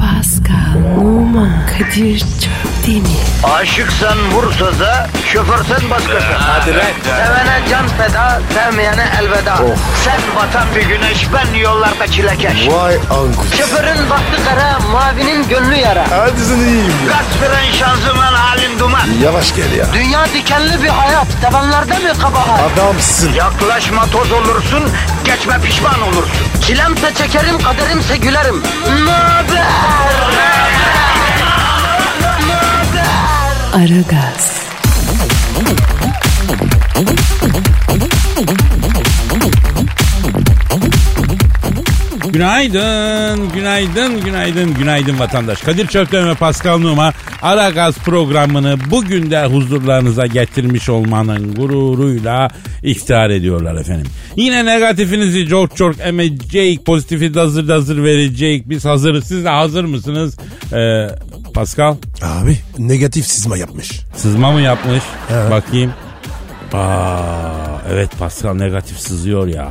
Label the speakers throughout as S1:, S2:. S1: Pascal, Oman, Kadir çok değil mi?
S2: Aşıksan vursa da şoförsen başkasın. Hadi
S3: lan. Oh.
S2: Sevene can feda, sevmeyene elveda. Sen batan bir güneş, ben yollarda çilekeş.
S3: Vay anku.
S2: Şoförün baktı kara, mavinin gönlü yara.
S3: Hadi sen iyiyim ya.
S2: Kasperen şanzıman halin duman.
S3: Yavaş gel ya.
S2: Dünya dikenli bir hayat, sevenlerde mi kabahar?
S3: Adamsın.
S2: Yaklaşma toz olursun, geçme pişman olursun. Çilemse çekerim, kaderimse gülerim. Möber!
S1: Aragaz,
S4: Günaydın, günaydın, günaydın, günaydın vatandaş. Kadir Çöpten ve Pascal Numa Ara Gaz programını bugün de huzurlarınıza getirmiş olmanın gururuyla iftihar ediyorlar efendim. Yine negatifinizi çok çok emecek, pozitifi de hazır da hazır verecek. Biz hazırız, siz de hazır mısınız? Ee, Pascal,
S3: Abi negatif sızma yapmış.
S4: sızma mı yapmış?
S3: Evet.
S4: Bakayım. Aa, evet Pascal negatif sızıyor ya.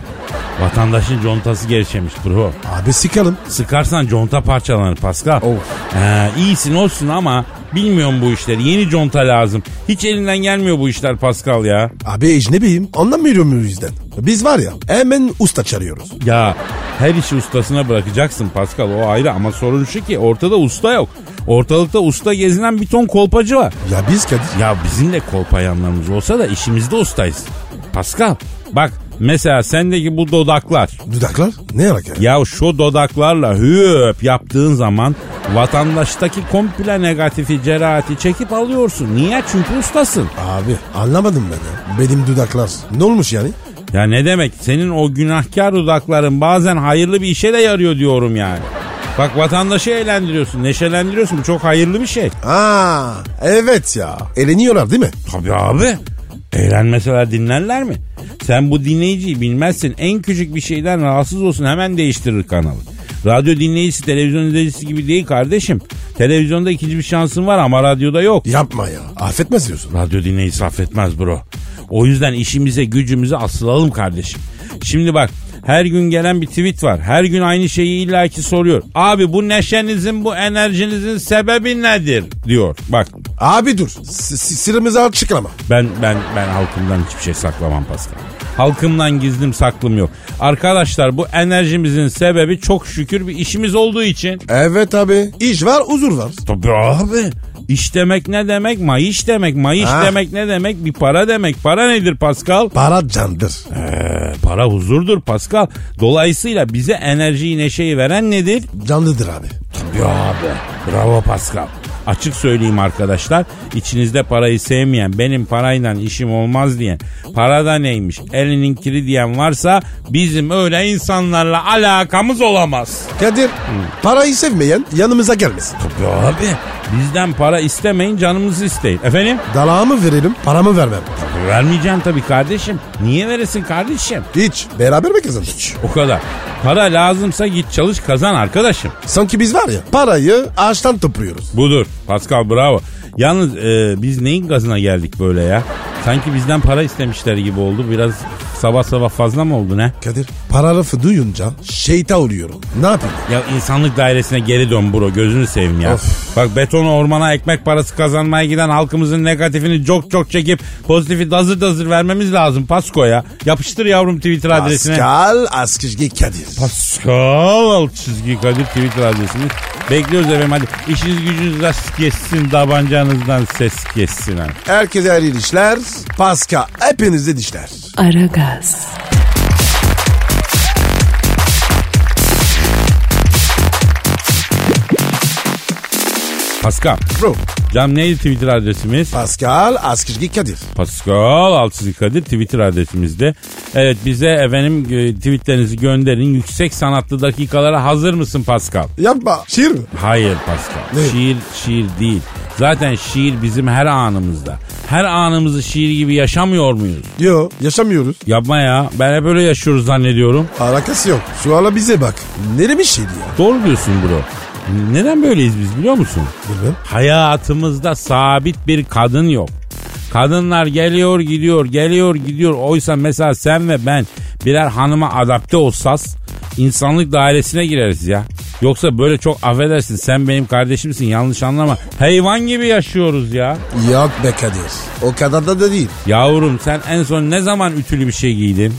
S4: Vatandaşın contası gevşemiş bro.
S3: Abi sikalım.
S4: Sıkarsan conta parçalanır Pascal.
S3: Of.
S4: He, iyisin olsun ama bilmiyorum bu işleri. Yeni conta lazım. Hiç elinden gelmiyor bu işler Pascal ya.
S3: Abi ecnebiyim anlamıyorum o yüzden. Biz var ya hemen usta çağırıyoruz.
S4: Ya her işi ustasına bırakacaksın Pascal o ayrı ama sorun şu ki ortada usta yok. Ortalıkta usta gezinen bir ton kolpacı var.
S3: Ya biz Kadir.
S4: Ya bizim de kolpayanlarımız olsa da işimizde ustayız. Pascal bak mesela sendeki bu dodaklar.
S3: Dudaklar ne alaka?
S4: Ya şu dodaklarla hüp yaptığın zaman vatandaştaki komple negatifi cerahati çekip alıyorsun. Niye? Çünkü ustasın.
S3: Abi anlamadım ben ya. Benim dudaklar. Ne olmuş yani?
S4: Ya ne demek senin o günahkar dudakların bazen hayırlı bir işe de yarıyor diyorum yani. Bak vatandaşı eğlendiriyorsun, neşelendiriyorsun. Bu çok hayırlı bir şey.
S3: Aa evet ya. Eleniyorlar değil mi?
S4: Tabii abi. Eğlenmeseler dinlerler mi? Sen bu dinleyiciyi bilmezsin. En küçük bir şeyden rahatsız olsun hemen değiştirir kanalı. Radyo dinleyicisi televizyon izleyicisi gibi değil kardeşim. Televizyonda ikinci bir şansın var ama radyoda yok.
S3: Yapma ya. Affetmez diyorsun.
S4: Radyo dinleyicisi affetmez bro. O yüzden işimize gücümüze asılalım kardeşim. Şimdi bak her gün gelen bir tweet var. Her gün aynı şeyi illaki soruyor. Abi bu neşenizin bu enerjinizin sebebi nedir diyor. Bak
S3: Abi dur. S- s- Sıramızı açıklama.
S4: ben ben ben halkımdan hiçbir şey saklamam Pascal. Halkımdan gizlim saklım yok. Arkadaşlar bu enerjimizin sebebi çok şükür bir işimiz olduğu için.
S3: Evet abi. İş var huzur var.
S4: Tabii abi. İş demek ne demek? Mayış demek. Mayış
S3: Ha.
S4: demek ne demek? Bir para demek. Para nedir Pascal?
S3: Para candır.
S4: Ee, para huzurdur Pascal. Dolayısıyla bize enerjiyi neşeyi veren nedir?
S3: Canlıdır abi.
S4: Ya abi. Bravo Pascal. Açık söyleyeyim arkadaşlar. içinizde parayı sevmeyen, benim parayla işim olmaz diyen, parada neymiş, elinin kiri diyen varsa bizim öyle insanlarla alakamız olamaz.
S3: Kadir parayı sevmeyen yanımıza gelmesin.
S4: Tabii abi. Bizden para istemeyin, canımızı isteyin. Efendim?
S3: Dalağımı verelim paramı vermem.
S4: Vermeyeceğim tabii kardeşim. Niye veresin kardeşim?
S3: Hiç. Beraber mi kazandık?
S4: O kadar. Para lazımsa git çalış kazan arkadaşım.
S3: Sanki biz var ya parayı ağaçtan topluyoruz.
S4: Budur. Pascal bravo. Yalnız e, biz neyin gazına geldik böyle ya? Sanki bizden para istemişler gibi oldu. Biraz sabah sabah fazla mı oldu ne?
S3: Kadir para lafı duyunca şeyta oluyorum. Ne yapayım?
S4: Ya insanlık dairesine geri dön bro gözünü seveyim ya.
S3: Of.
S4: Bak beton ormana ekmek parası kazanmaya giden halkımızın negatifini çok çok çekip pozitifi dazır dazır vermemiz lazım Pasko ya. Yapıştır yavrum Twitter adresine.
S3: Pascal Askizgi Kadir.
S4: Pascal alt çizgi Kadir Twitter adresimiz. Bekliyoruz efendim hadi. İşiniz gücünüz rast kessin, tabancanızdan ses kessin. ha.
S3: Herkese hayırlı işler. Pascal hepinizde dişler.
S1: Aragaz,
S4: Pascal.
S3: Bro.
S4: Cam neydi Twitter adresimiz?
S3: Pascal Askizgi Kadir.
S4: Pascal Altsızı Kadir Twitter adresimizde. Evet bize efendim e, tweetlerinizi gönderin. Yüksek sanatlı dakikalara hazır mısın Pascal?
S3: Yapma. Şiir mi?
S4: Hayır Pascal.
S3: Ne?
S4: Şiir şiir değil. Zaten şiir bizim her anımızda. Her anımızı şiir gibi yaşamıyor muyuz?
S3: Yo yaşamıyoruz.
S4: Yapma ya. Ben hep öyle yaşıyoruz zannediyorum.
S3: Alakası yok. Şu ala bize bak. Nere bir şiir ya?
S4: Doğru diyorsun bro. Neden böyleyiz biz biliyor musun?
S3: Bilmem.
S4: Hayatımızda sabit bir kadın yok. Kadınlar geliyor gidiyor geliyor gidiyor. Oysa mesela sen ve ben birer hanıma adapte olsaz insanlık dairesine gireriz ya. Yoksa böyle çok affedersin sen benim kardeşimsin yanlış anlama. Hayvan gibi yaşıyoruz ya.
S3: Yok be Kadir. O kadar da, da değil.
S4: Yavrum sen en son ne zaman ütülü bir şey giydin?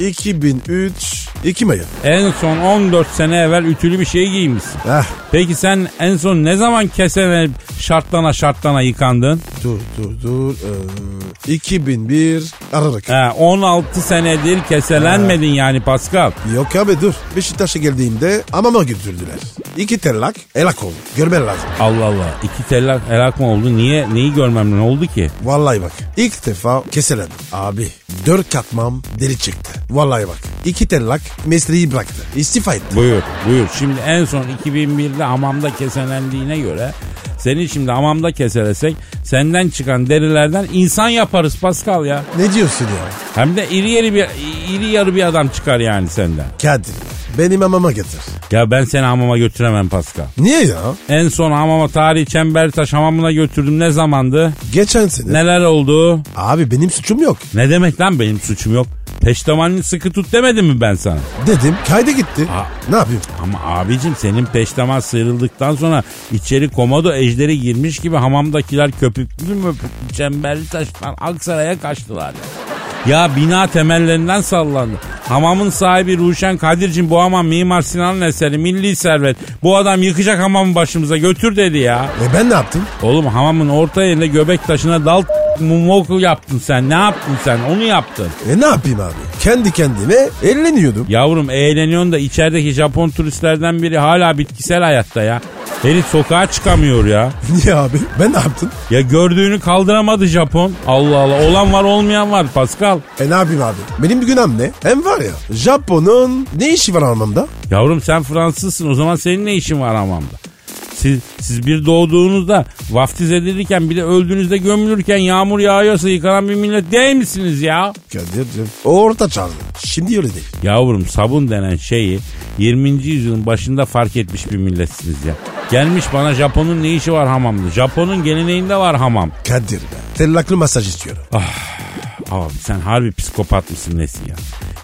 S3: 2003 2 Mayı.
S4: En son 14 sene evvel ütülü bir şey giymişsin.
S3: Heh.
S4: Peki sen en son ne zaman kesene şartlana şartlana yıkandın?
S3: Dur dur dur. Ee, 2001 Aralık.
S4: He, 16 senedir keselenmedin yani Pascal.
S3: Yok abi dur. Beşiktaş'a geldiğimde amama götürdüler. İki tellak elak oldu. Görmen lazım.
S4: Allah Allah. iki tellak helak mı oldu? Niye? Neyi görmem ne oldu ki?
S3: Vallahi bak. İlk defa keselendim. Abi dört katmam deri çıktı. Vallahi bak. İki tellak mesleği bıraktı. İstifa etti.
S4: Buyur buyur. Şimdi en son 2001'de hamamda keselendiğine göre seni şimdi hamamda keselesek senden çıkan derilerden insan yaparız Pascal ya.
S3: Ne diyorsun ya?
S4: Hem de iri yarı bir, iri yarı bir adam çıkar yani senden.
S3: Kadir benim amama getir.
S4: Ya ben seni hamama götüremem Pascal.
S3: Niye ya?
S4: En son hamama tarihi Çembertaş hamamına götürdüm ne zamandı?
S3: Geçen sene.
S4: Neler oldu?
S3: Abi benim suçum yok.
S4: Ne demek lan benim suçum yok? Peştemalini sıkı tut demedim mi ben sana?
S3: Dedim kayda gitti.
S4: Ha.
S3: Ne yapayım?
S4: Ama abicim senin peştemal sıyrıldıktan sonra içeri komodo ejderi girmiş gibi hamamdakiler köpüklü möpüklü çemberli taştan Aksaray'a kaçtılar ya. Ya bina temellerinden sallandı. Hamamın sahibi Ruşen Kadir'cim bu hamam Mimar Sinan'ın eseri milli servet. Bu adam yıkacak hamamı başımıza götür dedi ya.
S3: E ben ne yaptım?
S4: Oğlum hamamın orta yerine göbek taşına dal moku yaptın sen. Ne yaptın sen? Onu yaptın.
S3: E ne yapayım abi? Kendi kendime elleniyordum.
S4: Yavrum eğleniyorsun da içerideki Japon turistlerden biri hala bitkisel hayatta ya. Herif sokağa çıkamıyor ya.
S3: Niye abi? Ben ne yaptım?
S4: Ya gördüğünü kaldıramadı Japon. Allah Allah. Olan var olmayan var Pascal.
S3: E ne yapayım abi? Benim bir günahım ne? Hem var ya Japon'un ne işi var almamda?
S4: Yavrum sen Fransızsın. O zaman senin ne işin var hamamda? Siz, siz bir doğduğunuzda vaftiz edilirken bile öldüğünüzde gömülürken yağmur yağıyorsa yıkanan bir millet değil misiniz ya?
S3: Kadir'cim o orta çağlı. Şimdi öyle değil.
S4: Yavrum sabun denen şeyi 20. yüzyılın başında fark etmiş bir milletsiniz ya. Gelmiş bana Japon'un ne işi var hamamda? Japon'un geleneğinde var hamam.
S3: Kadir be. Tellaklı masaj istiyorum.
S4: Abi sen harbi psikopat mısın nesin ya?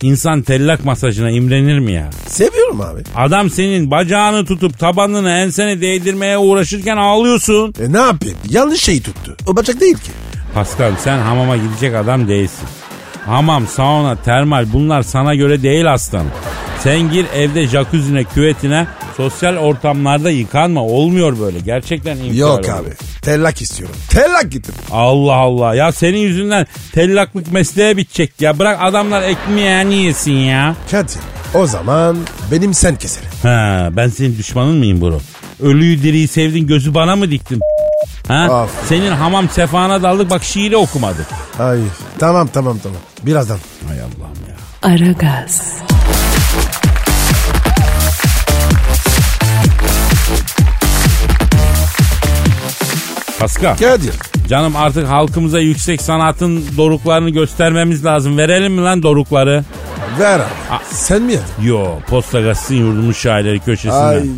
S4: İnsan tellak masajına imrenir mi ya?
S3: Seviyorum abi.
S4: Adam senin bacağını tutup tabanını ensene değdirmeye uğraşırken ağlıyorsun.
S3: E ne yapayım? Yanlış şeyi tuttu. O bacak değil ki.
S4: Pascal sen hamama gidecek adam değilsin. Hamam, sauna, termal bunlar sana göre değil aslanım. Sen gir evde jacuzzi'ne, küvetine, sosyal ortamlarda yıkanma. Olmuyor böyle. Gerçekten infilal
S3: Yok
S4: oluyor.
S3: abi. Tellak istiyorum. Tellak gittim.
S4: Allah Allah. Ya senin yüzünden tellaklık mesleğe bitecek ya. Bırak adamlar ekmeğini yesin ya.
S3: Kadir o zaman benim sen keserim.
S4: Ha, ben senin düşmanın mıyım bro? Ölüyü diriyi sevdin gözü bana mı diktin? Ha?
S3: Aferin.
S4: Senin hamam sefana daldık bak şiiri okumadık.
S3: Hayır. Tamam tamam tamam. Birazdan.
S4: Hay Allah'ım ya.
S1: Aragaz,
S4: Pascal.
S3: Kadir.
S4: Canım artık halkımıza yüksek sanatın doruklarını göstermemiz lazım. Verelim mi lan dorukları?
S3: Ver abi. Sen mi yedin?
S4: Yo posta gazetin yurdumun şairleri köşesinden.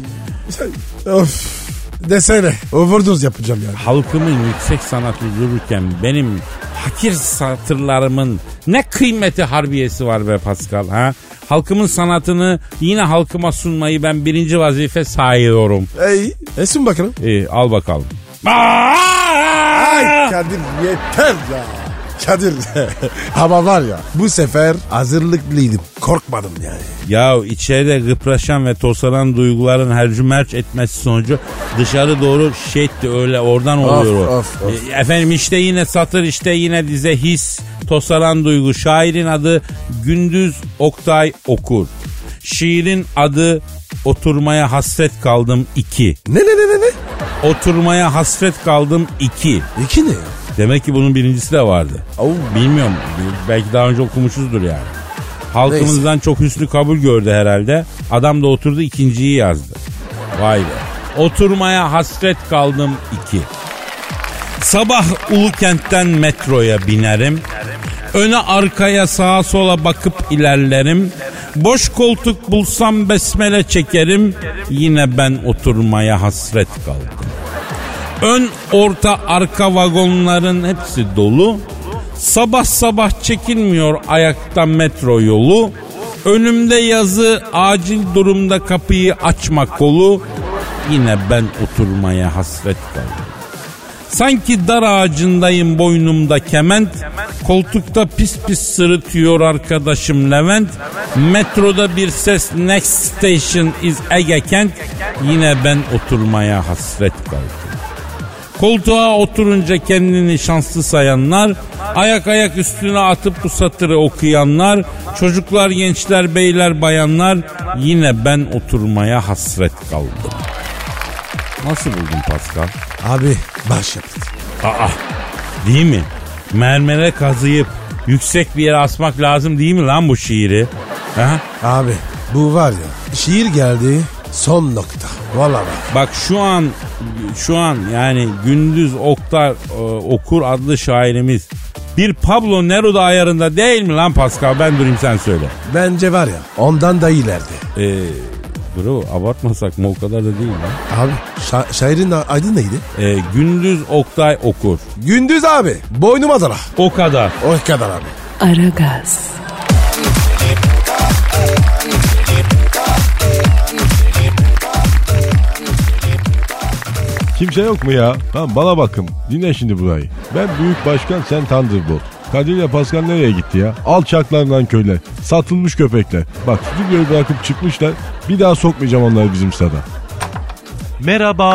S3: Ay. of. Desene. Overdose yapacağım yani.
S4: Halkımın yüksek sanatı dururken benim hakir satırlarımın ne kıymeti harbiyesi var be Pascal ha? Halkımın sanatını yine halkıma sunmayı ben birinci vazife sayıyorum.
S3: Ey. Esin bakalım.
S4: İyi al bakalım.
S3: Ay Kadir yeter ya. Kadir. Ama var ya bu sefer hazırlıklıydım. Korkmadım yani.
S4: Ya içeride gıpraşan ve tosaran duyguların hercümerç etmesi sonucu dışarı doğru şetti öyle oradan oluyor o.
S3: of, of.
S4: E, Efendim işte yine satır işte yine dize his tosaran duygu. Şairin adı Gündüz Oktay Okur. Şiirin adı Oturmaya Hasret Kaldım 2.
S3: Ne ne ne ne ne?
S4: Oturmaya Hasret Kaldım 2.
S3: İki ne ya?
S4: Demek ki bunun birincisi de vardı.
S3: Au.
S4: Bilmiyorum. Belki daha önce okumuşuzdur yani. Halkımızdan çok hüsnü kabul gördü herhalde. Adam da oturdu ikinciyi yazdı. Vay be. Oturmaya hasret kaldım iki. Sabah Ulukent'ten metroya binerim. Öne arkaya sağa sola bakıp ilerlerim. Boş koltuk bulsam besmele çekerim. Yine ben oturmaya hasret kaldım. Ön orta arka vagonların hepsi dolu. Sabah sabah çekilmiyor ayakta metro yolu. Önümde yazı acil durumda kapıyı açma kolu yine ben oturmaya hasret kaldım. Sanki dar ağacındayım boynumda kement. Koltukta pis pis sırıtıyor arkadaşım Levent. Metroda bir ses next station is Ege Kent. Yine ben oturmaya hasret kaldım. Koltuğa oturunca kendini şanslı sayanlar, ayak ayak üstüne atıp bu satırı okuyanlar, çocuklar, gençler, beyler, bayanlar yine ben oturmaya hasret kaldım. Nasıl buldun Pascal?
S3: Abi başyapıt.
S4: Aa değil mi? Mermere kazıyıp yüksek bir yere asmak lazım değil mi lan bu şiiri? Ha?
S3: Abi bu var ya şiir geldi son nokta. Valla bak.
S4: Bak şu an şu an yani Gündüz Oktar e, Okur adlı şairimiz bir Pablo Neruda ayarında değil mi lan Pascal? Ben durayım sen söyle.
S3: Bence var ya ondan da ilerdi.
S4: Ee, bro abartmasak mı o kadar da değil lan.
S3: Abi şa- şairin a- adı neydi?
S4: Ee, gündüz Oktay Okur.
S3: Gündüz abi. Boynuma dala.
S4: O kadar.
S3: O kadar abi.
S1: Aragaz,
S5: Kimse yok mu ya? Tamam bana bakın. Dinle şimdi burayı. Ben Büyük Başkan sen Thunderbolt. Kadir ile Pascal nereye gitti ya? Alçaklardan köyler. Satılmış köpekler. Bak stüdyoyu bırakıp çıkmışlar. Bir daha sokmayacağım onları bizim sada.
S6: Merhaba.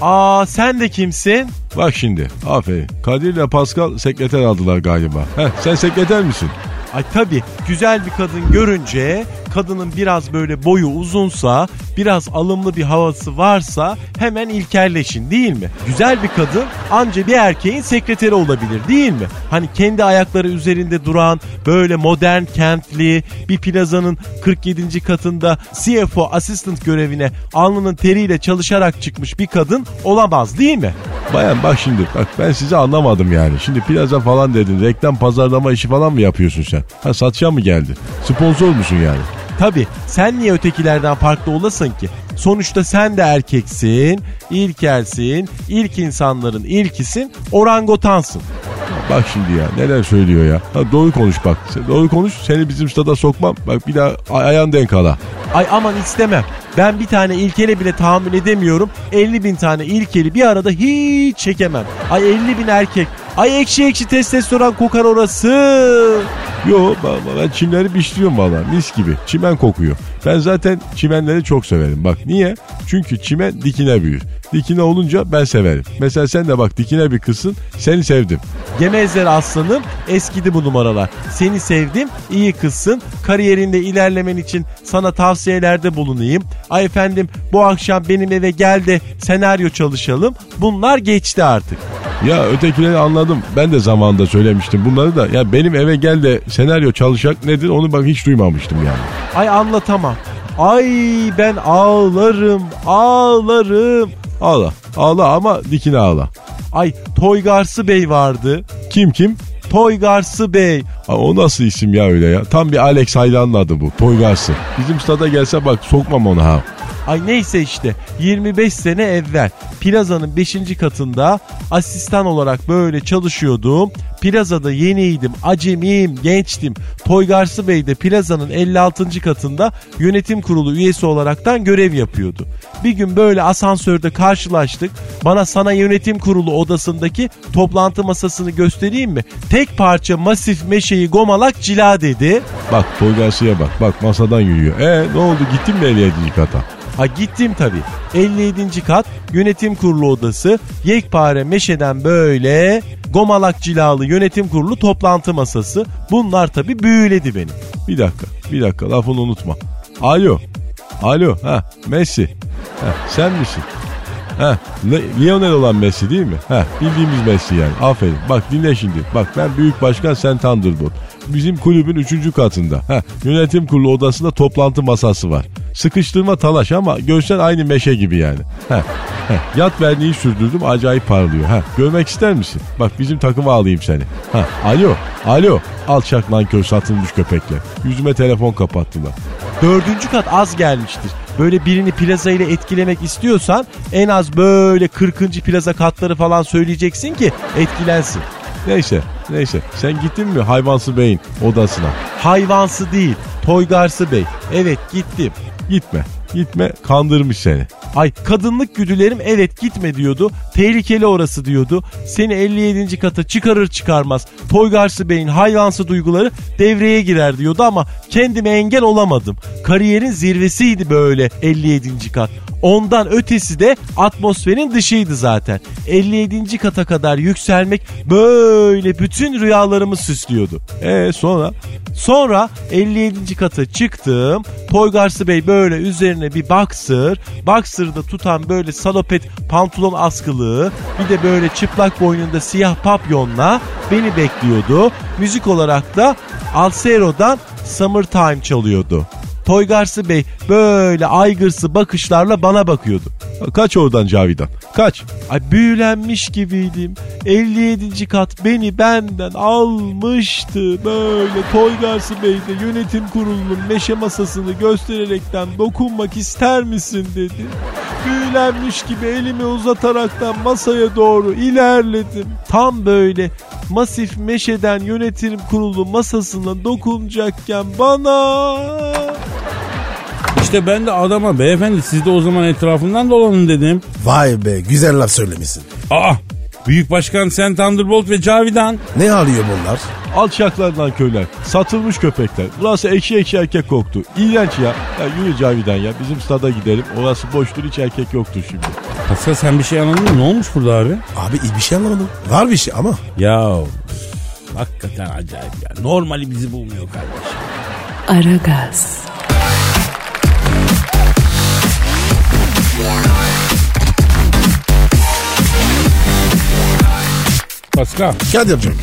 S6: Aa sen de kimsin?
S5: Bak şimdi. Aferin. Kadir ile Pascal sekreter aldılar galiba. Heh, sen sekreter misin?
S6: Ay tabii güzel bir kadın görünce kadının biraz böyle boyu uzunsa biraz alımlı bir havası varsa hemen ilkelleşin değil mi? Güzel bir kadın anca bir erkeğin sekreteri olabilir değil mi? Hani kendi ayakları üzerinde duran böyle modern kentli bir plazanın 47. katında CFO assistant görevine alnının teriyle çalışarak çıkmış bir kadın olamaz değil mi?
S5: Bayan bak şimdi. Bak ben sizi anlamadım yani. Şimdi plaza falan dedin. Reklam pazarlama işi falan mı yapıyorsun sen? Ha satışa mı geldi? Sponsor musun yani?
S6: Tabi sen niye ötekilerden farklı olasın ki? Sonuçta sen de erkeksin, ilkelsin, ilk insanların ilkisin, orangotansın.
S5: Bak şimdi ya neler söylüyor ya. Ha, doğru konuş bak. Sen doğru konuş seni bizim stada sokmam. Bak bir daha ay- ayağın denk ala.
S6: Ay aman istemem. Ben bir tane ilkele bile tahammül edemiyorum. 50 bin tane ilkeli bir arada hiç çekemem. Ay 50 bin erkek. Ay ekşi ekşi testosteron kokar orası.
S5: Yo ba- ba- ben çimleri biçliyorum valla mis gibi. Çimen kokuyor. Ben zaten çimenleri çok severim. Bak niye? Çünkü çimen dikine büyür. Dikine olunca ben severim. Mesela sen de bak dikine bir kızsın seni sevdim.
S6: Gemezler aslanım eskidi bu numaralar. Seni sevdim iyi kızsın kariyerinde ilerlemen için sana tavsiyelerde bulunayım. Ay efendim bu akşam benim eve gel de senaryo çalışalım. Bunlar geçti artık.
S5: Ya ötekileri anladım. Ben de zamanında söylemiştim bunları da. Ya benim eve gel de senaryo çalışacak nedir onu bak hiç duymamıştım yani.
S6: Ay anlatamam. Ay ben ağlarım ağlarım.
S5: Ağla. Ağla ama dikine ağla.
S6: Ay Toygarsı Bey vardı.
S5: Kim kim?
S6: Toygarsı Bey.
S5: Aa, o nasıl isim ya öyle ya? Tam bir Alex Haylan'ın adı bu. Toygarsı. Bizim stada gelse bak sokmam onu ha.
S6: Ay neyse işte 25 sene evvel plazanın 5. katında asistan olarak böyle çalışıyordum. Plazada yeniydim, acemiyim, gençtim. Toygarsı Bey de plazanın 56. katında yönetim kurulu üyesi olaraktan görev yapıyordu. Bir gün böyle asansörde karşılaştık. Bana sana yönetim kurulu odasındaki toplantı masasını göstereyim mi? Tek parça masif meşeyi gomalak cila dedi.
S5: Bak Toygarsı'ya bak. Bak masadan yürüyor. E ne oldu gittin mi 57. kata?
S6: Ha gittim tabii. 57. kat yönetim kurulu odası yekpare meşeden böyle gomalak cilalı yönetim kurulu toplantı masası. Bunlar tabii büyüledi beni.
S5: Bir dakika. Bir dakika lafını unutma. Alo. Alo. Ha Messi. Ha, sen misin? Ha, Le- Lionel olan Messi değil mi? Ha, bildiğimiz Messi yani. Aferin. Bak dinle şimdi. Bak ben Büyük Başkan Sen Thunderbolt. Bizim kulübün 3. katında. Ha, yönetim kurulu odasında toplantı masası var. Sıkıştırma talaş ama görsen aynı meşe gibi yani. Ha, ha, yat verniği sürdürdüm acayip parlıyor. Ha, görmek ister misin? Bak bizim takıma alayım seni. Ha, alo, alo. Alçak lan kör satılmış köpekle. Yüzüme telefon kapattılar.
S6: Dördüncü kat az gelmiştir. Böyle birini plaza ile etkilemek istiyorsan en az böyle 40. plaza katları falan söyleyeceksin ki etkilensin.
S7: Neyse neyse sen gittin mi hayvansı beyin odasına?
S6: Hayvansı değil, Toygarsı Bey. Evet gittim.
S7: Gitme gitme kandırmış seni.
S6: Ay kadınlık güdülerim evet gitme diyordu. Tehlikeli orası diyordu. Seni 57. kata çıkarır çıkarmaz Toygarsı Bey'in hayvansı duyguları devreye girer diyordu ama kendime engel olamadım. Kariyerin zirvesiydi böyle 57. kat. Ondan ötesi de atmosferin dışıydı zaten. 57. kata kadar yükselmek böyle bütün rüyalarımı süslüyordu.
S7: E sonra
S6: Sonra 57. kata çıktım. Toygarsı Bey böyle üzerine bir boxer. Boxer'da tutan böyle salopet pantolon askılığı. Bir de böyle çıplak boynunda siyah papyonla beni bekliyordu. Müzik olarak da Alsero'dan Summertime çalıyordu. Toygarsı Bey böyle aygırsı bakışlarla bana bakıyordu.
S7: kaç oradan Cavidan kaç.
S6: Ay büyülenmiş gibiydim. 57. kat beni benden almıştı. Böyle Toygarsı Bey'de yönetim kurulunun meşe masasını göstererekten dokunmak ister misin dedi. Büyülenmiş gibi elimi uzataraktan masaya doğru ilerledim. Tam böyle masif meşeden yönetim kurulu masasına dokunacakken bana...
S4: İşte ben de adama beyefendi siz de o zaman etrafından dolanın dedim.
S3: Vay be güzel laf söylemişsin.
S4: Aa Büyük Başkan Sen Thunderbolt ve Cavidan.
S3: Ne arıyor bunlar?
S7: Alçaklardan köyler, satılmış köpekler. Burası eşi eşi erkek koktu. İğrenç ya. ya yürü Cavidan ya bizim stada gidelim. Orası boştur hiç erkek yoktu şimdi.
S4: Pascal sen bir şey anladın mı? Ne olmuş burada abi?
S3: Abi iyi bir şey anlamadım. Var bir şey ama.
S4: Ya üf, hakikaten acayip ya. Normali bizi bulmuyor kardeşim.
S1: Aragaz,
S4: Pascal,
S3: Kadir'cim.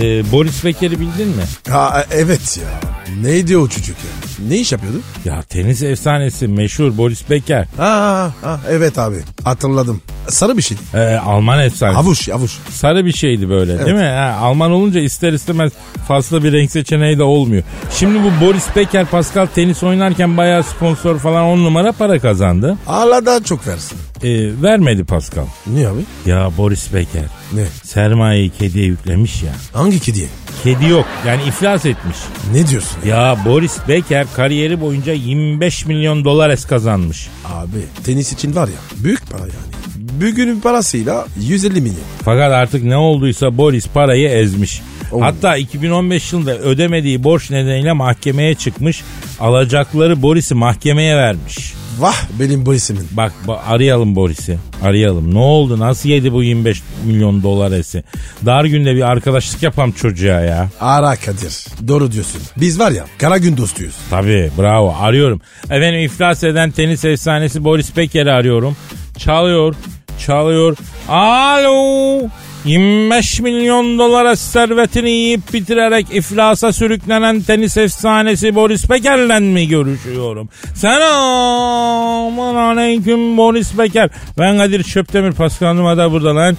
S4: e, Boris Becker'i bildin mi?
S3: Ha e- evet ya. Neydi o çocuk ya? Ne iş yapıyordu?
S4: Ya tenis efsanesi meşhur Boris Becker.
S3: Ha, ha evet abi hatırladım. Sarı bir şey.
S4: E, Alman efsanesi.
S3: Havuç havuç.
S4: Sarı bir şeydi böyle değil mi? Ha, Alman olunca ister istemez fazla bir renk seçeneği de olmuyor. Şimdi bu Boris Becker Pascal tenis oynarken bayağı sponsor falan on numara para kazandı.
S3: Hala daha çok versin.
S4: E, vermedi Pascal.
S3: Niye abi?
S4: Ya Boris Becker
S3: Ne?
S4: sermayeyi kediye yüklemiş ya.
S3: Hangi kediye?
S4: Kedi yok yani iflas etmiş.
S3: Ne diyorsun?
S4: Ya Boris Becker kariyeri boyunca 25 milyon dolar es kazanmış.
S3: Abi tenis için var ya büyük para yani. Bugünün parasıyla 150 milyon.
S4: Fakat artık ne olduysa Boris parayı ezmiş.
S3: Oo.
S4: Hatta 2015 yılında ödemediği borç nedeniyle mahkemeye çıkmış. Alacakları Boris'i mahkemeye vermiş.
S3: Vah benim Boris'imin.
S4: Bak ba- arayalım Boris'i. Arayalım. Ne oldu? Nasıl yedi bu 25 milyon dolar esi? Dar günde bir arkadaşlık yapam çocuğa ya.
S3: Ara Kadir. Doğru diyorsun. Biz var ya kara gün dostuyuz.
S4: Tabii bravo arıyorum. Efendim iflas eden tenis efsanesi Boris Becker'i arıyorum. Çalıyor, çalıyor. Alo! 25 milyon dolara servetini yiyip bitirerek iflasa sürüklenen tenis efsanesi Boris Becker'le mi görüşüyorum? Selamun aleyküm Boris Becker. Ben Kadir Çöptemir Pascal Numa da burada lan.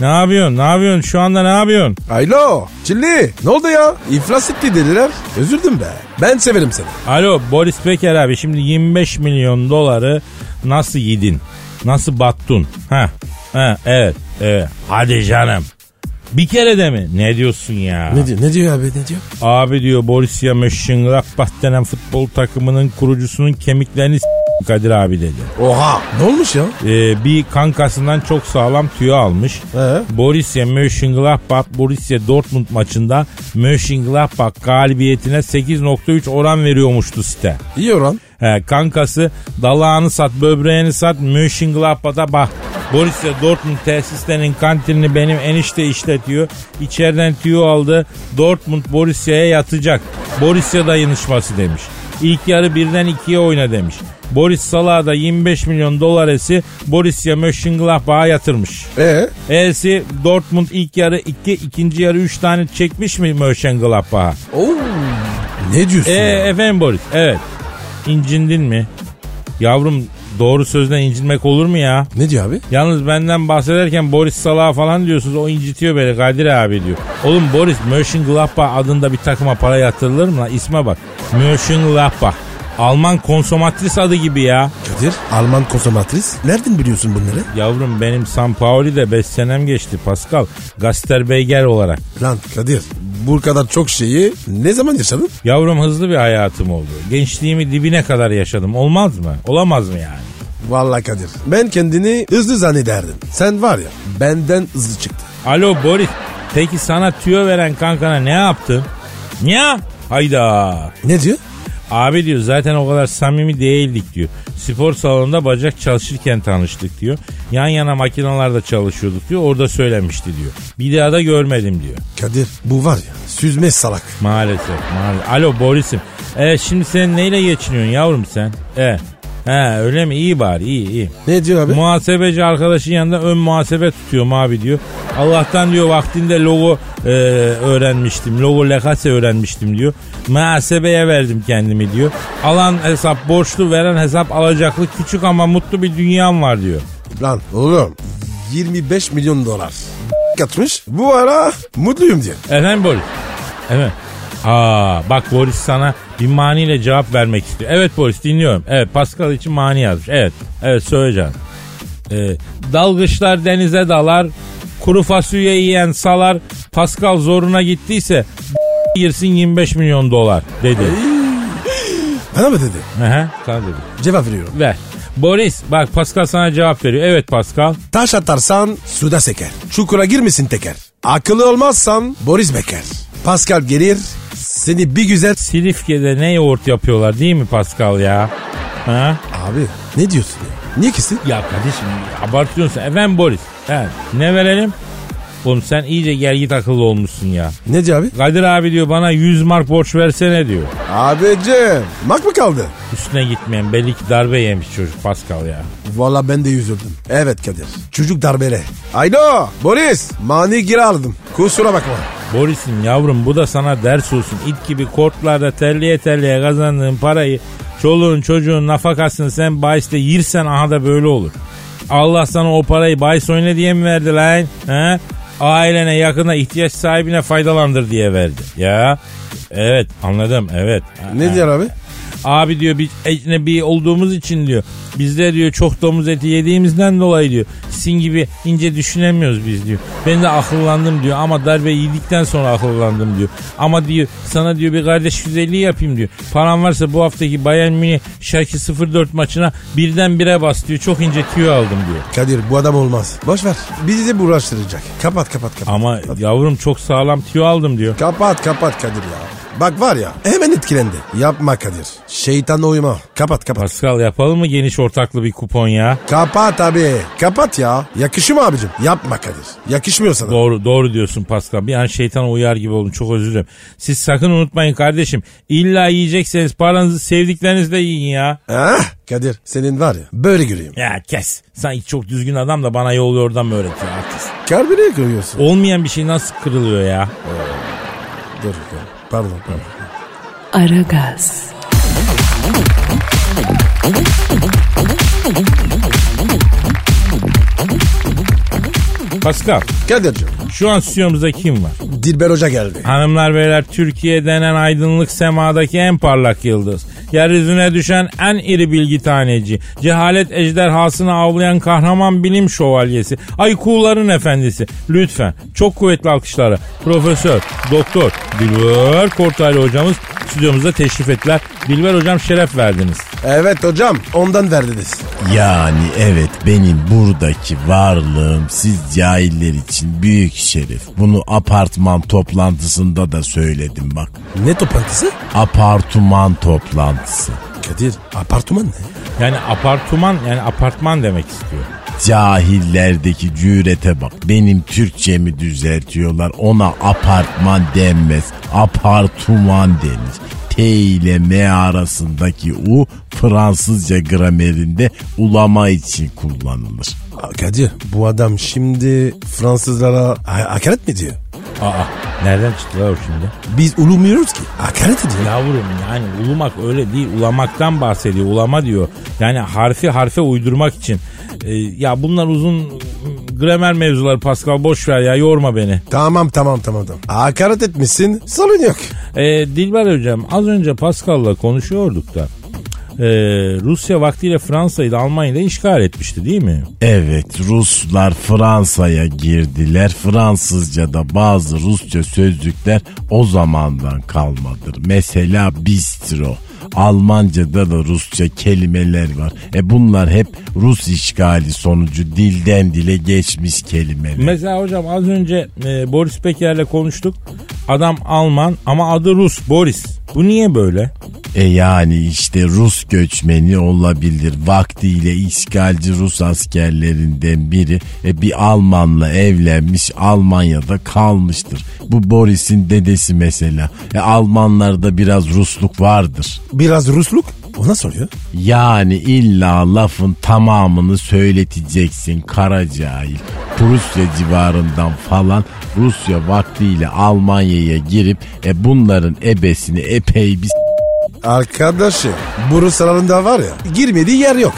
S4: Ne yapıyorsun? Ne yapıyorsun? Şu anda ne yapıyorsun?
S3: Alo Çilli ne oldu ya? İflas etti dediler. Özür dilerim be. Ben severim seni.
S4: Alo Boris Becker abi şimdi 25 milyon doları nasıl yedin? Nasıl battın? Ha, ha evet, evet. Hadi canım. Bir kere de mi? Ne diyorsun ya?
S3: Ne diyor, ne diyor abi ne diyor?
S4: Abi diyor Borussia Mönchengladbach denen futbol takımının kurucusunun kemiklerini s- Kadir abi dedi.
S3: Oha ne olmuş ya?
S4: Ee, bir kankasından çok sağlam tüyo almış.
S3: Ee?
S4: Borussia Mönchengladbach Borussia Dortmund maçında Mönchengladbach galibiyetine 8.3 oran veriyormuştu site.
S3: İyi oran.
S4: He, kankası dalağını sat, böbreğini sat, Mönchengladbach'a bak. Borussia Dortmund tesislerinin kantinini benim enişte işletiyor. İçeriden tüyo aldı. Dortmund Borussia'ya yatacak. Borussia dayanışması demiş. İlk yarı birden ikiye oyna demiş. Boris Salah'a da 25 milyon dolar esi Borussia Mönchengladbach'a yatırmış.
S3: Ee?
S4: E'si Dortmund ilk yarı 2, ikinci yarı 3 tane çekmiş mi Mönchengladbach'a?
S3: Oo. Ne diyorsun
S4: Ee,
S3: ya?
S4: efendim Boris evet. İncindin mi? Yavrum doğru sözden incinmek olur mu ya?
S3: Ne diyor abi?
S4: Yalnız benden bahsederken Boris Salah falan diyorsunuz o incitiyor beni Kadir abi diyor. Oğlum Boris Mönchengladbach adında bir takıma para yatırılır mı lan? İsme bak. Mönchengladbach. Alman konsomatris adı gibi ya.
S3: Kadir Alman konsomatris. Nereden biliyorsun bunları?
S4: Yavrum benim San Paoli'de 5 senem geçti Pascal. Gaster Beyger olarak.
S3: Lan Kadir bu kadar çok şeyi ne zaman yaşadın?
S4: Yavrum hızlı bir hayatım oldu. Gençliğimi dibine kadar yaşadım. Olmaz mı? Olamaz mı yani?
S3: Vallahi Kadir ben kendini hızlı zannederdim. Sen var ya benden hızlı çıktı.
S4: Alo Boris. Peki sana tüyo veren kankana ne yaptın? Niye? Hayda.
S3: Ne diyor?
S4: Abi diyor zaten o kadar samimi değildik diyor. Spor salonunda bacak çalışırken tanıştık diyor. Yan yana makinalarda çalışıyorduk diyor. Orada söylemişti diyor. Bir daha da görmedim diyor.
S3: Kadir bu var ya süzme salak.
S4: Maalesef. maalesef. Alo Boris'im. E şimdi sen neyle geçiniyorsun yavrum sen? E. He öyle mi? İyi bari iyi iyi.
S3: Ne diyor abi?
S4: Muhasebeci arkadaşın yanında ön muhasebe tutuyorum abi diyor. Allah'tan diyor vaktinde logo e, öğrenmiştim. Logo lekase öğrenmiştim diyor. Muhasebeye verdim kendimi diyor. Alan hesap borçlu veren hesap alacaklı küçük ama mutlu bir dünyam var diyor.
S3: Lan oğlum 25 milyon dolar katmış. Bu ara mutluyum diye.
S4: Efendim Boris? Evet. Aa bak Boris sana bir maniyle cevap vermek istiyor. Evet Boris dinliyorum. Evet Pascal için mani yazmış. Evet. Evet söyleyeceğim. Ee, dalgıçlar denize dalar. Kuru fasulye yiyen salar. Pascal zoruna gittiyse girsin 25 milyon dolar dedi.
S3: Bana mı dedi?
S4: Hı hı, sana dedi.
S3: Cevap veriyorum.
S4: Ver. Boris bak Pascal sana cevap veriyor. Evet Pascal.
S3: Taş atarsan suda seker. Çukura girmesin teker. Akıllı olmazsan Boris Becker. Pascal gelir seni bir güzel...
S4: Silifke'de ne yoğurt yapıyorlar değil mi Pascal ya? Ha?
S3: Abi ne diyorsun ya? Niye kesin?
S4: Ya kardeşim abartıyorsun. Efendim Boris. He, ne verelim? Oğlum sen iyice gergit akıllı olmuşsun ya.
S3: Ne diyor abi?
S4: Kadir abi diyor bana 100 mark borç versene diyor.
S3: Abicim mak mı kaldı?
S4: Üstüne gitmeyen belli ki darbe yemiş çocuk Pascal ya.
S3: Valla ben de üzüldüm. Evet Kadir. Çocuk darbele. Aylo Boris mani gir aldım. Kusura bakma.
S4: Boris'im yavrum bu da sana ders olsun. İt gibi kortlarda terliye terliye kazandığın parayı çoluğun çocuğun nafakasını sen bahiste yirsen aha da böyle olur. Allah sana o parayı bahis oyna diye mi verdi lan? He? Ailene yakına ihtiyaç sahibine faydalandır diye verdi. Ya evet anladım evet.
S3: Ne diyor abi?
S4: Abi diyor biz ecnebi olduğumuz için diyor. Bizde diyor çok domuz eti yediğimizden dolayı diyor. Sizin gibi ince düşünemiyoruz biz diyor. Ben de akıllandım diyor ama darbe yedikten sonra akıllandım diyor. Ama diyor sana diyor bir kardeş güzelliği yapayım diyor. Paran varsa bu haftaki Bayern Münih Şarkı 04 maçına birden bire bas diyor. Çok ince tüyo aldım diyor.
S3: Kadir bu adam olmaz. Boş ver. Bizi de uğraştıracak. Kapat kapat kapat.
S4: Ama yavrum çok sağlam tüyo aldım diyor.
S3: Kapat kapat Kadir ya. Bak var ya hemen etkilendi. Yapma Kadir. Şeytan uyma. Kapat kapat.
S4: Pascal yapalım mı geniş ortaklı bir kupon ya?
S3: Kapat abi. Kapat ya. Yakışıyor mu abicim? Yapma Kadir. Yakışmıyor sana.
S4: Doğru doğru diyorsun Pascal. Bir an şeytana uyar gibi oldum. Çok özür dilerim. Siz sakın unutmayın kardeşim. İlla yiyecekseniz paranızı sevdiklerinizle yiyin ya.
S3: Ah, Kadir senin var ya böyle göreyim.
S4: Ya kes. Sen çok düzgün adam da bana yol oradan mı öğretiyor artist?
S3: Kalbine görüyorsun.
S4: Olmayan bir şey nasıl kırılıyor ya?
S3: Dur dur. Pardon pardon.
S1: Aragaz,
S4: Pascal
S3: Kadir'cim
S4: şu an stüdyomuzda kim var?
S3: Dilber Hoca geldi.
S4: Hanımlar beyler Türkiye denen aydınlık semadaki en parlak yıldız. Yeryüzüne düşen en iri bilgi taneci. Cehalet ejderhasını avlayan kahraman bilim şövalyesi. Ay kuğuların efendisi. Lütfen çok kuvvetli alkışlara Profesör, Doktor Dilber Kortaylı hocamız stüdyomuza teşrif ettiler. Dilber hocam şeref verdiniz.
S3: Evet hocam ondan verdiniz.
S5: Yani evet benim buradaki varlığım siz cahiller için büyük şeref. Bunu apartman toplantısında da söyledim bak.
S3: Ne toplantısı?
S5: Apartman toplantısı.
S3: Kadir apartman ne?
S4: Yani apartman yani apartman demek istiyor.
S5: Cahillerdeki cürete bak. Benim Türkçemi düzeltiyorlar. Ona apartman denmez. Apartuman denir. T ile M arasındaki U Fransızca gramerinde ulama için kullanılır.
S3: Aa, Kadir bu adam şimdi Fransızlara ha- hakaret mi diyor?
S4: Aa nereden çıktı lan o şimdi?
S3: Biz ulumuyoruz ki. Hakaret ediyor.
S4: Yavrum yani ulumak öyle değil. Ulamaktan bahsediyor. Ulama diyor. Yani harfi harfe uydurmak için. Ee, ya bunlar uzun gramer mevzuları Pascal. Boş ver ya yorma beni.
S3: Tamam tamam tamam tamam. Hakaret etmişsin sorun yok.
S4: Ee, Dilber hocam az önce Pascal'la konuşuyorduk da. e, Rusya vaktiyle Fransa'yı da Almanya'yı da işgal etmişti değil mi?
S5: Evet Ruslar Fransa'ya girdiler. Fransızca'da bazı Rusça sözlükler o zamandan kalmadır. Mesela bistro. Almanca'da da Rusça kelimeler var. E bunlar hep Rus işgali sonucu dilden dile geçmiş kelimeler.
S4: Mesela hocam az önce e, Boris Peker'le konuştuk. Adam Alman ama adı Rus Boris. Bu niye böyle?
S5: E yani işte Rus göçmeni olabilir. Vaktiyle işgalci Rus askerlerinden biri e bir Almanla evlenmiş Almanya'da kalmıştır. Bu Boris'in dedesi mesela. E Almanlarda biraz Rusluk vardır.
S3: Biraz Rusluk. O nasıl oluyor?
S5: Yani illa lafın tamamını söyleteceksin Karacahil. Prusya civarından falan Rusya vaktiyle Almanya'ya girip e bunların ebesini epey bir
S3: Arkadaşım bu Rus aralarında var ya girmediği yer yok.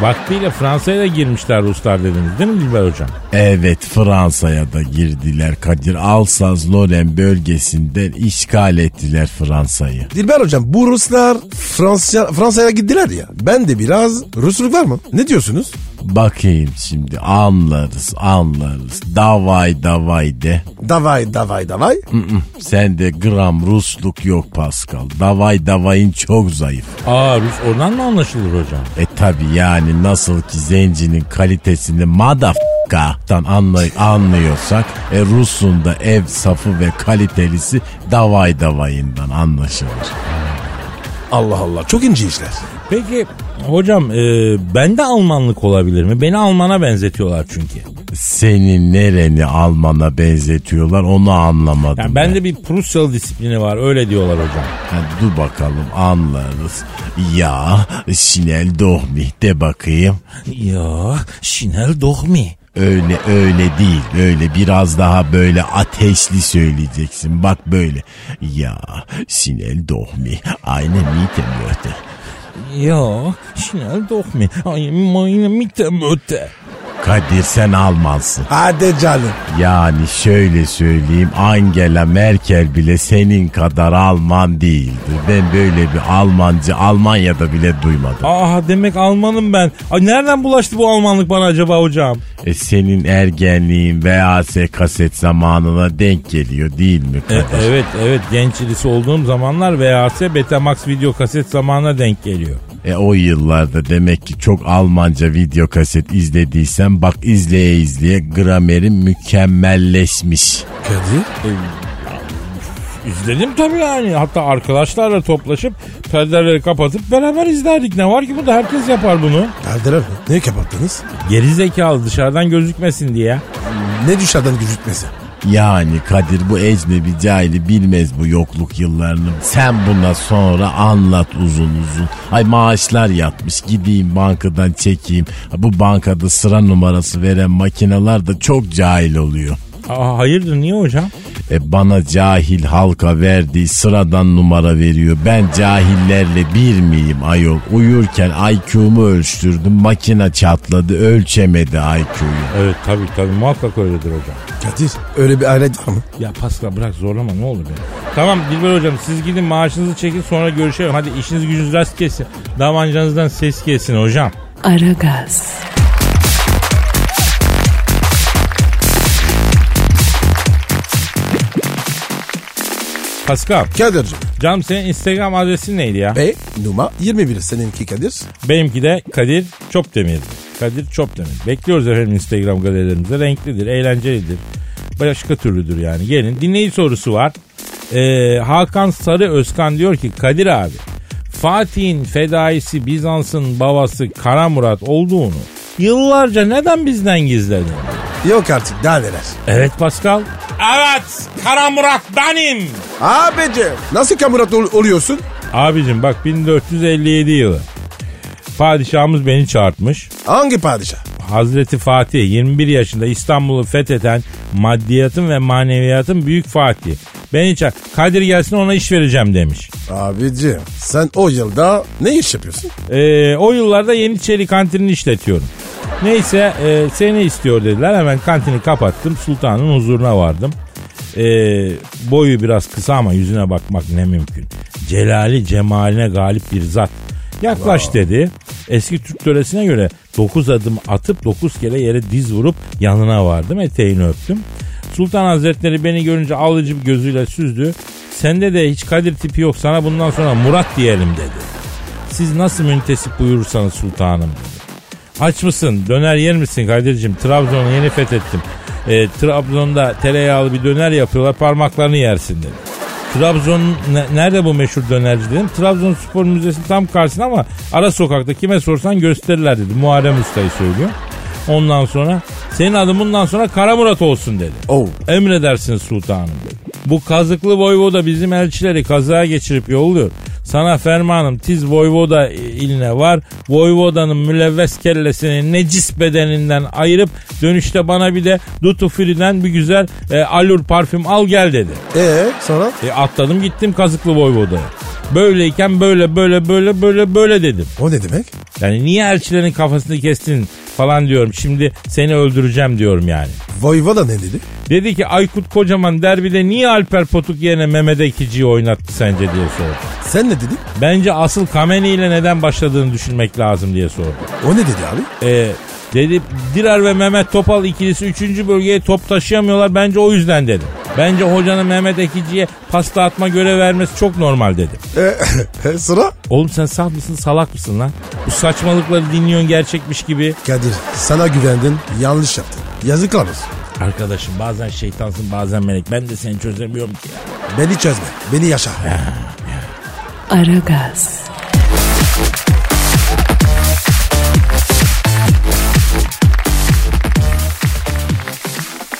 S4: Vaktiyle Fransa'ya da girmişler Ruslar dediniz değil mi Dilber hocam?
S5: Evet Fransa'ya da girdiler Kadir. Alsaz Loren bölgesinden işgal ettiler Fransa'yı.
S3: Dilber hocam bu Ruslar Fransa, Fransa'ya gittiler ya. Ben de biraz Rusluk var mı? Ne diyorsunuz?
S5: Bakayım şimdi anlarız anlarız. Davay davay de.
S3: Davay davay davay.
S5: Sende gram Rusluk yok Pascal. Davay davayın çok zayıf.
S4: Aa Rus oradan mı anlaşılır hocam?
S5: E tabi yani nasıl ki zencinin kalitesini madafka'dan anlay anlıyorsak e Rus'un da ev safı ve kalitelisi davay davayından anlaşılır.
S3: Allah Allah çok ince işler.
S4: Peki hocam e, bende Almanlık olabilir mi? Beni Alman'a benzetiyorlar çünkü.
S5: Senin nereni Alman'a benzetiyorlar onu anlamadım.
S4: Yani bende bir Prusyalı disiplini var öyle diyorlar hocam.
S5: Ha, dur bakalım anlarız. Ya şinel dohmi de bakayım.
S4: Ya Şinel Dohmi.
S5: Öyle öyle değil. Öyle biraz daha böyle ateşli söyleyeceksin. Bak böyle. Ya şinel dohmi. Aynı mite möte.
S4: Ya Şinel Dohmi. Ay meine Mitte Möte.
S5: Kadir sen Almansın.
S3: Hadi canım.
S5: Yani şöyle söyleyeyim Angela Merkel bile senin kadar Alman değildir. Ben böyle bir Almancı Almanya'da bile duymadım.
S4: Aa demek Almanım ben. Ay, nereden bulaştı bu Almanlık bana acaba hocam?
S5: E senin ergenliğin VHS kaset zamanına denk geliyor değil mi
S4: E,
S5: Kadir?
S4: evet evet genç ilisi olduğum zamanlar VHS Betamax video kaset zamanına denk geliyor.
S5: E o yıllarda demek ki çok Almanca video kaset izlediysen bak izleye izleye gramerin mükemmelleşmiş.
S3: Kadir.
S4: İzledim tabii yani. Hatta arkadaşlarla toplaşıp perdeleri kapatıp beraber izlerdik. Ne var ki bu da herkes yapar bunu.
S3: Erdeler mi? Neyi kapattınız?
S4: Geri zekalı dışarıdan gözükmesin diye.
S3: Ne düşerden gözükmesi?
S5: Yani Kadir bu ecnebi cahili bilmez bu yokluk yıllarını. Sen buna sonra anlat uzun uzun. Ay maaşlar yatmış gideyim bankadan çekeyim. Bu bankada sıra numarası veren makineler de çok cahil oluyor.
S4: Aa, hayırdır niye hocam?
S5: E bana cahil halka verdiği sıradan numara veriyor. Ben cahillerle bir miyim ayol? Uyurken IQ'mu ölçtürdüm. Makine çatladı ölçemedi IQ'yu.
S4: Evet tabii tabii muhakkak öyledir hocam.
S3: Kadir öyle bir alet var mı?
S4: Ya Pascal bırak zorlama ne olur beni. Tamam Dilber hocam siz gidin maaşınızı çekin sonra görüşelim. Hadi işiniz gücünüz rast kesin. Davancanızdan ses kesin hocam.
S1: Aragaz,
S4: Pascal,
S3: Kadir'cim.
S4: Cam senin Instagram adresin neydi ya?
S3: Ve Numa 21 seninki Kadir.
S4: Benimki de Kadir Çopdemir. Kadir Çopdemir. Bekliyoruz efendim Instagram galerilerimize. Renklidir, eğlencelidir. Başka türlüdür yani. Gelin. Dinleyici sorusu var. Ee, Hakan Sarı Özkan diyor ki Kadir abi Fatih'in fedaisi Bizans'ın babası Kara Murat olduğunu yıllarca neden bizden gizledin?
S3: Yok artık daha neler.
S4: Evet Pascal. Evet Kara Murat benim.
S3: Abici nasıl kamurat ol- oluyorsun?
S4: Abicim bak 1457 yılı. Padişahımız beni çağırtmış.
S3: Hangi padişah?
S4: Hazreti Fatih 21 yaşında İstanbul'u fetheden maddiyatın ve maneviyatın büyük Fatih. Beni çağır. Kadir gelsin ona iş vereceğim demiş.
S3: Abici sen o yılda ne iş yapıyorsun?
S4: Ee, o yıllarda Yeniçeri kantinini işletiyorum. Neyse e, seni istiyor dediler. Hemen kantini kapattım. Sultanın huzuruna vardım. Ee, boyu biraz kısa ama yüzüne bakmak ne mümkün. Celali cemaline galip bir zat. Yaklaş dedi. Eski Türk töresine göre 9 adım atıp 9 kere yere diz vurup yanına vardım eteğini öptüm. Sultan Hazretleri beni görünce alıcı bir gözüyle süzdü. Sende de hiç Kadir tipi yok sana bundan sonra Murat diyelim dedi. Siz nasıl müntesip buyurursanız sultanım Aç mısın? Döner yer misin Kadir'cim? Trabzon'u yeni fethettim. E, Trabzon'da tereyağlı bir döner yapıyorlar parmaklarını yersin dedi. Trabzon ne- nerede bu meşhur dönerci dedim. Trabzon Spor Müzesi'nin tam karşısında ama ara sokakta kime sorsan gösterirler dedi. Muharrem Usta'yı söylüyor. Ondan sonra senin adın bundan sonra Kara Murat olsun dedi.
S3: Oh.
S4: Emredersiniz sultanım. Bu kazıklı voyvoda bizim elçileri kazaya geçirip yolluyor. Sana fermanım tiz voyvoda iline var. Voyvodanın mülevves kellesini necis bedeninden ayırıp dönüşte bana bir de Dutu Free'den bir güzel e, alur parfüm al gel dedi.
S3: Ee sonra?
S4: E, atladım gittim kazıklı voyvodaya. Böyleyken böyle böyle böyle böyle böyle dedim.
S3: O ne demek?
S4: Yani niye elçilerin kafasını kestin falan diyorum. Şimdi seni öldüreceğim diyorum yani.
S3: Voyvoda ne dedi?
S4: Dedi ki Aykut Kocaman derbide niye Alper Potuk yerine Mehmet Ekici'yi oynattı sence diye sordu.
S3: Sen ne dedin?
S4: Bence asıl Kameni ile neden başladığını düşünmek lazım diye sordu.
S3: O ne dedi abi?
S4: Ee, dedi Dirar ve Mehmet Topal ikilisi 3. bölgeye top taşıyamıyorlar bence o yüzden dedi. Bence hocanın Mehmet Ekici'ye pasta atma görev vermesi çok normal dedi.
S3: Ee, sonra?
S4: Oğlum sen saf mısın salak mısın lan? Bu saçmalıkları dinliyorsun gerçekmiş gibi.
S3: Kadir sana güvendin yanlış yaptın. Yazıklar olsun.
S4: Arkadaşım bazen şeytansın bazen melek. Ben de seni çözemiyorum ki.
S3: Beni çözme. Beni yaşa.
S1: Aragaz,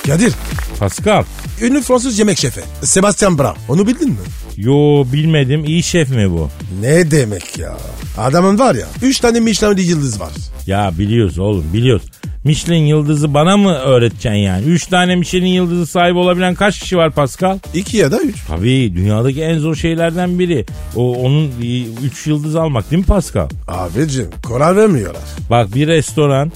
S3: Kadir
S4: Pascal.
S3: ünlü Fransız yemek şefi Sebastian Bra. Onu bildin mi?
S4: Yo bilmedim. iyi şef mi bu?
S3: Ne demek ya? Adamın var ya 3 tane Michelin yıldız var.
S4: Ya biliyoruz oğlum biliyoruz. Michelin yıldızı bana mı öğreteceksin yani? Üç tane Michelin yıldızı sahibi olabilen kaç kişi var Pascal?
S3: 2 ya da 3.
S4: Tabii dünyadaki en zor şeylerden biri. O onun e, üç yıldız almak değil mi Pascal?
S3: Abicim karar vermiyorlar.
S4: Bak bir restoran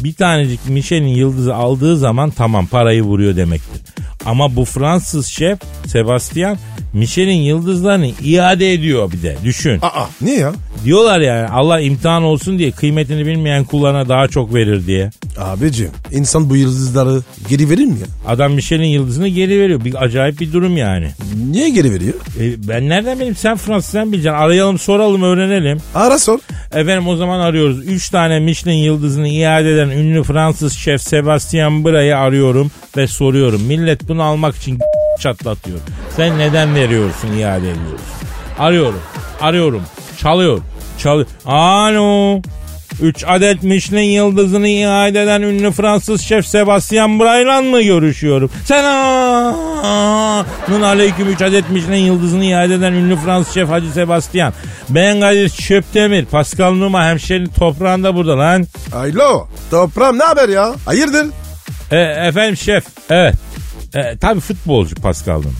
S4: bir tanecik Michelin yıldızı aldığı zaman tamam parayı vuruyor demektir. Ama bu Fransız şef Sebastian Michelin yıldızlarını iade ediyor bir de düşün.
S3: Aa niye ya?
S4: Diyorlar yani Allah imtihan olsun diye kıymetini bilmeyen kullarına daha çok verir diye.
S3: Abicim insan bu yıldızları geri verir mi ya?
S4: Adam Michelin yıldızını geri veriyor. Bir acayip bir durum yani.
S3: Niye geri veriyor?
S4: E, ben nereden bileyim sen Fransız sen bileceksin. Arayalım soralım öğrenelim.
S3: Ara sor.
S4: Efendim o zaman arıyoruz. 3 tane Michelin yıldızını iade eden ünlü Fransız şef Sebastian Bra'yı arıyorum ve soruyorum. Millet bunu almak için çatlatıyor. Sen neden veriyorsun iade ediyorsun? Arıyorum. Arıyorum. Çalıyor. Çalıyor. Alo. 3 adet Michelin yıldızını iade eden ünlü Fransız şef Sebastian Bra'yla mı görüşüyorum? Selamın aleyküm 3 adet Michelin yıldızını iade eden ünlü Fransız şef Hacı Sebastian. Ben Kadir Çöptemir. Pascal Numa hemşerin toprağında burada lan.
S3: Alo toprağım ne haber ya? Hayırdır?
S4: E, efendim şef. Evet. E, tabii futbolcu Pascal Numa.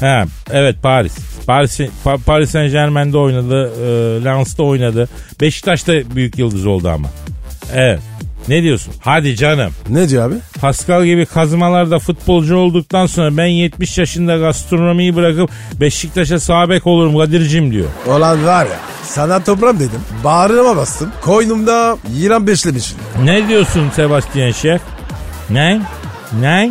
S4: Ha, evet Paris. Paris, Pa- Paris Saint Germain'de oynadı. E, Lens'te oynadı. Beşiktaş'ta büyük yıldız oldu ama. Evet. Ne diyorsun? Hadi canım.
S3: Ne diyor abi?
S4: Pascal gibi kazmalarda futbolcu olduktan sonra ben 70 yaşında gastronomiyi bırakıp Beşiktaş'a sabek olurum Kadir'cim diyor.
S3: Olan var ya sana toprağım dedim. Bağrıma bastım. Koynumda yılan beşlemiş.
S4: Ne diyorsun Sebastian Şef? Ne? Ne?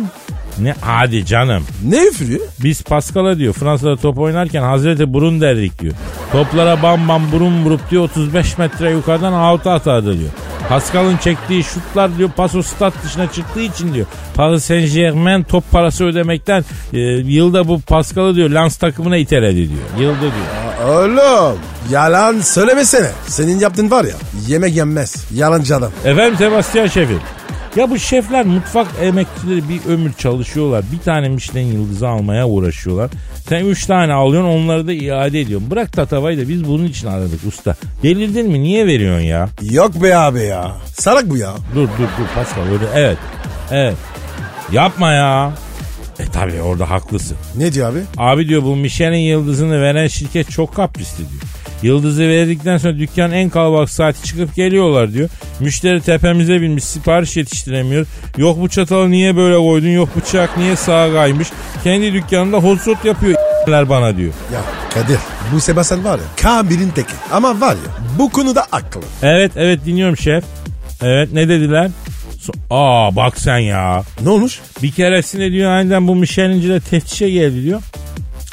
S4: Ne? Hadi canım.
S3: Ne üfürüyor?
S4: Biz Pascal'a diyor Fransa'da top oynarken Hazreti burun derdik diyor. Toplara bam bam burun vurup diyor 35 metre yukarıdan out'a atardı diyor. Pascal'ın çektiği şutlar diyor paso stat dışına çıktığı için diyor. Paris Saint Germain top parası ödemekten e, yılda bu Pascal'ı diyor Lens takımına iteledi diyor. Yılda diyor.
S3: Oğlum yalan söylemesene. Senin yaptığın var ya yemek yenmez. Yalancı adam.
S4: Efendim Sebastian Şef'im. Ya bu şefler mutfak emekçileri bir ömür çalışıyorlar. Bir tane Michelin yıldızı almaya uğraşıyorlar. Sen üç tane alıyorsun onları da iade ediyorsun. Bırak tatavayı da biz bunun için aradık usta. Delirdin mi niye veriyorsun ya?
S3: Yok be abi ya. Salak bu ya.
S4: Dur dur dur Pascal öyle evet. Evet. Yapma ya. E tabi orada haklısın.
S3: Ne diyor abi?
S4: Abi diyor bu Michelin yıldızını veren şirket çok kaprisli diyor. Yıldızı verdikten sonra dükkanın en kalabalık saati çıkıp geliyorlar diyor. Müşteri tepemize binmiş sipariş yetiştiremiyor. Yok bu çatalı niye böyle koydun yok bıçak niye sağa kaymış. Kendi dükkanında hot shot yapıyor bana diyor.
S3: Ya Kadir bu Sebastian var ya Kamil'in teki. Ama var ya bu konuda aklı.
S4: Evet evet dinliyorum şef. Evet ne dediler? So- Aa bak sen ya.
S3: Ne olmuş?
S4: Bir keresinde diyor aniden bu Michelinci de teftişe geldi diyor.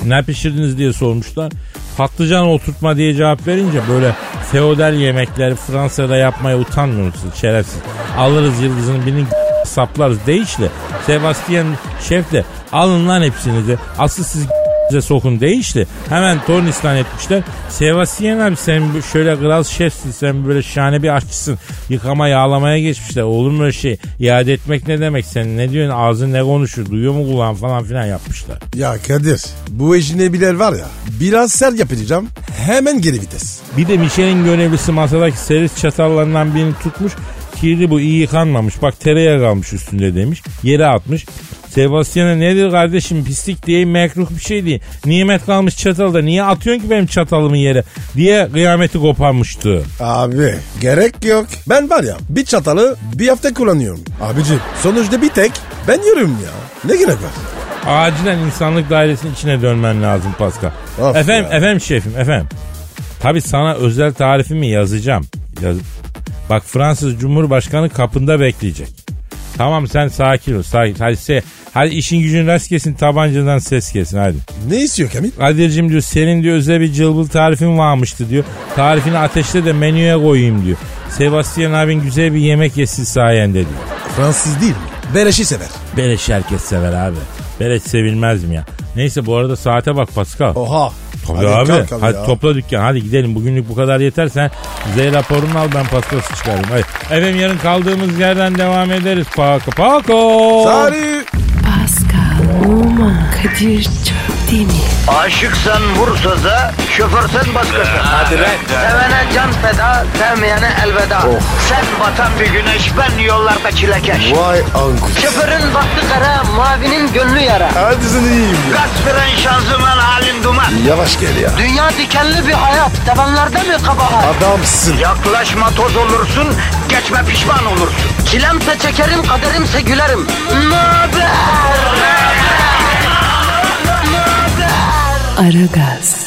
S4: Ne pişirdiniz diye sormuşlar. Patlıcan oturtma diye cevap verince böyle feodal yemekleri Fransa'da yapmaya utanmıyorsunuz şerefsiz. Alırız yıldızını birinin saplarız değişle. Sebastian şef de alın lan hepsini de. Asıl siz size sokun değişti. Hemen tornistan etmişler. Sebastian abi sen bu- şöyle kral şefsin sen böyle şahane bir aşçısın. Yıkama yağlamaya geçmişler. Olur mu öyle şey? İade etmek ne demek sen? Ne diyorsun? Ağzın ne konuşur? Duyuyor mu kulağın falan filan yapmışlar.
S3: Ya Kadir bu ecnebiler var ya biraz ser yapacağım hemen geri vites.
S4: Bir de Michelin görevlisi masadaki servis çatallarından birini tutmuş. Kirli bu iyi yıkanmamış. Bak tereyağı kalmış üstünde demiş. Yere atmış. Sebastian'a nedir kardeşim pislik diye mekruh bir şey değil. Nimet kalmış çatalda niye atıyorsun ki benim çatalımı yere diye kıyameti koparmıştı.
S3: Abi gerek yok. Ben var ya bir çatalı bir hafta kullanıyorum. Abicim sonuçta bir tek ben yiyorum ya. Ne gerek var?
S4: Acilen insanlık dairesinin içine dönmen lazım Pascal.
S3: Of
S4: efendim,
S3: ya.
S4: efendim şefim, efendim. Tabi sana özel tarifimi yazacağım. Yaz- Bak Fransız Cumhurbaşkanı kapında bekleyecek. Tamam sen sakin ol, sakin. Hadi, se- hadi işin gücün rast kesin, tabancadan ses kesin hadi.
S3: Ne istiyor Kamil?
S4: Kadir'cim diyor senin diyor özel bir cılbıl tarifin varmıştı diyor. Tarifini ateşle de menüye koyayım diyor. Sebastian abin güzel bir yemek yesin sayende diyor.
S3: Fransız değil mi? Beleşi sever.
S4: Beleş herkes sever abi. Beleş sevilmez mi ya? Neyse bu arada saate bak Pascal.
S3: Oha.
S4: Tabii abi.
S3: Oh, kalk abi
S4: hadi
S3: ya.
S4: topla dükkan. Hadi gidelim. Bugünlük bu kadar yeter. Sen Z raporunu al ben pastası çıkarayım. Hadi. Efendim yarın kaldığımız yerden devam ederiz. Paco Paco.
S3: Salut.
S1: Pascal, Oman, Kadir çok değil mi?
S2: Aşıksan vursa da, şoförsen başkasın. Hadi Sevene can feda, sevmeyene elveda.
S3: Oh.
S2: Sen batan bir güneş, ben yollarda çilekeş.
S3: Vay anku.
S2: Şoförün baktı kara, mavinin gönlü yara.
S3: Hadi sen iyiyim ya.
S2: Kasperen şanzıman halin duman.
S3: Yavaş gel ya.
S2: Dünya dikenli bir hayat, sevenlerde mi kabahar?
S3: Adamsın.
S2: Yaklaşma toz olursun, geçme pişman olursun. Çilemse çekerim, kaderimse gülerim. Möber!
S1: Aragaz.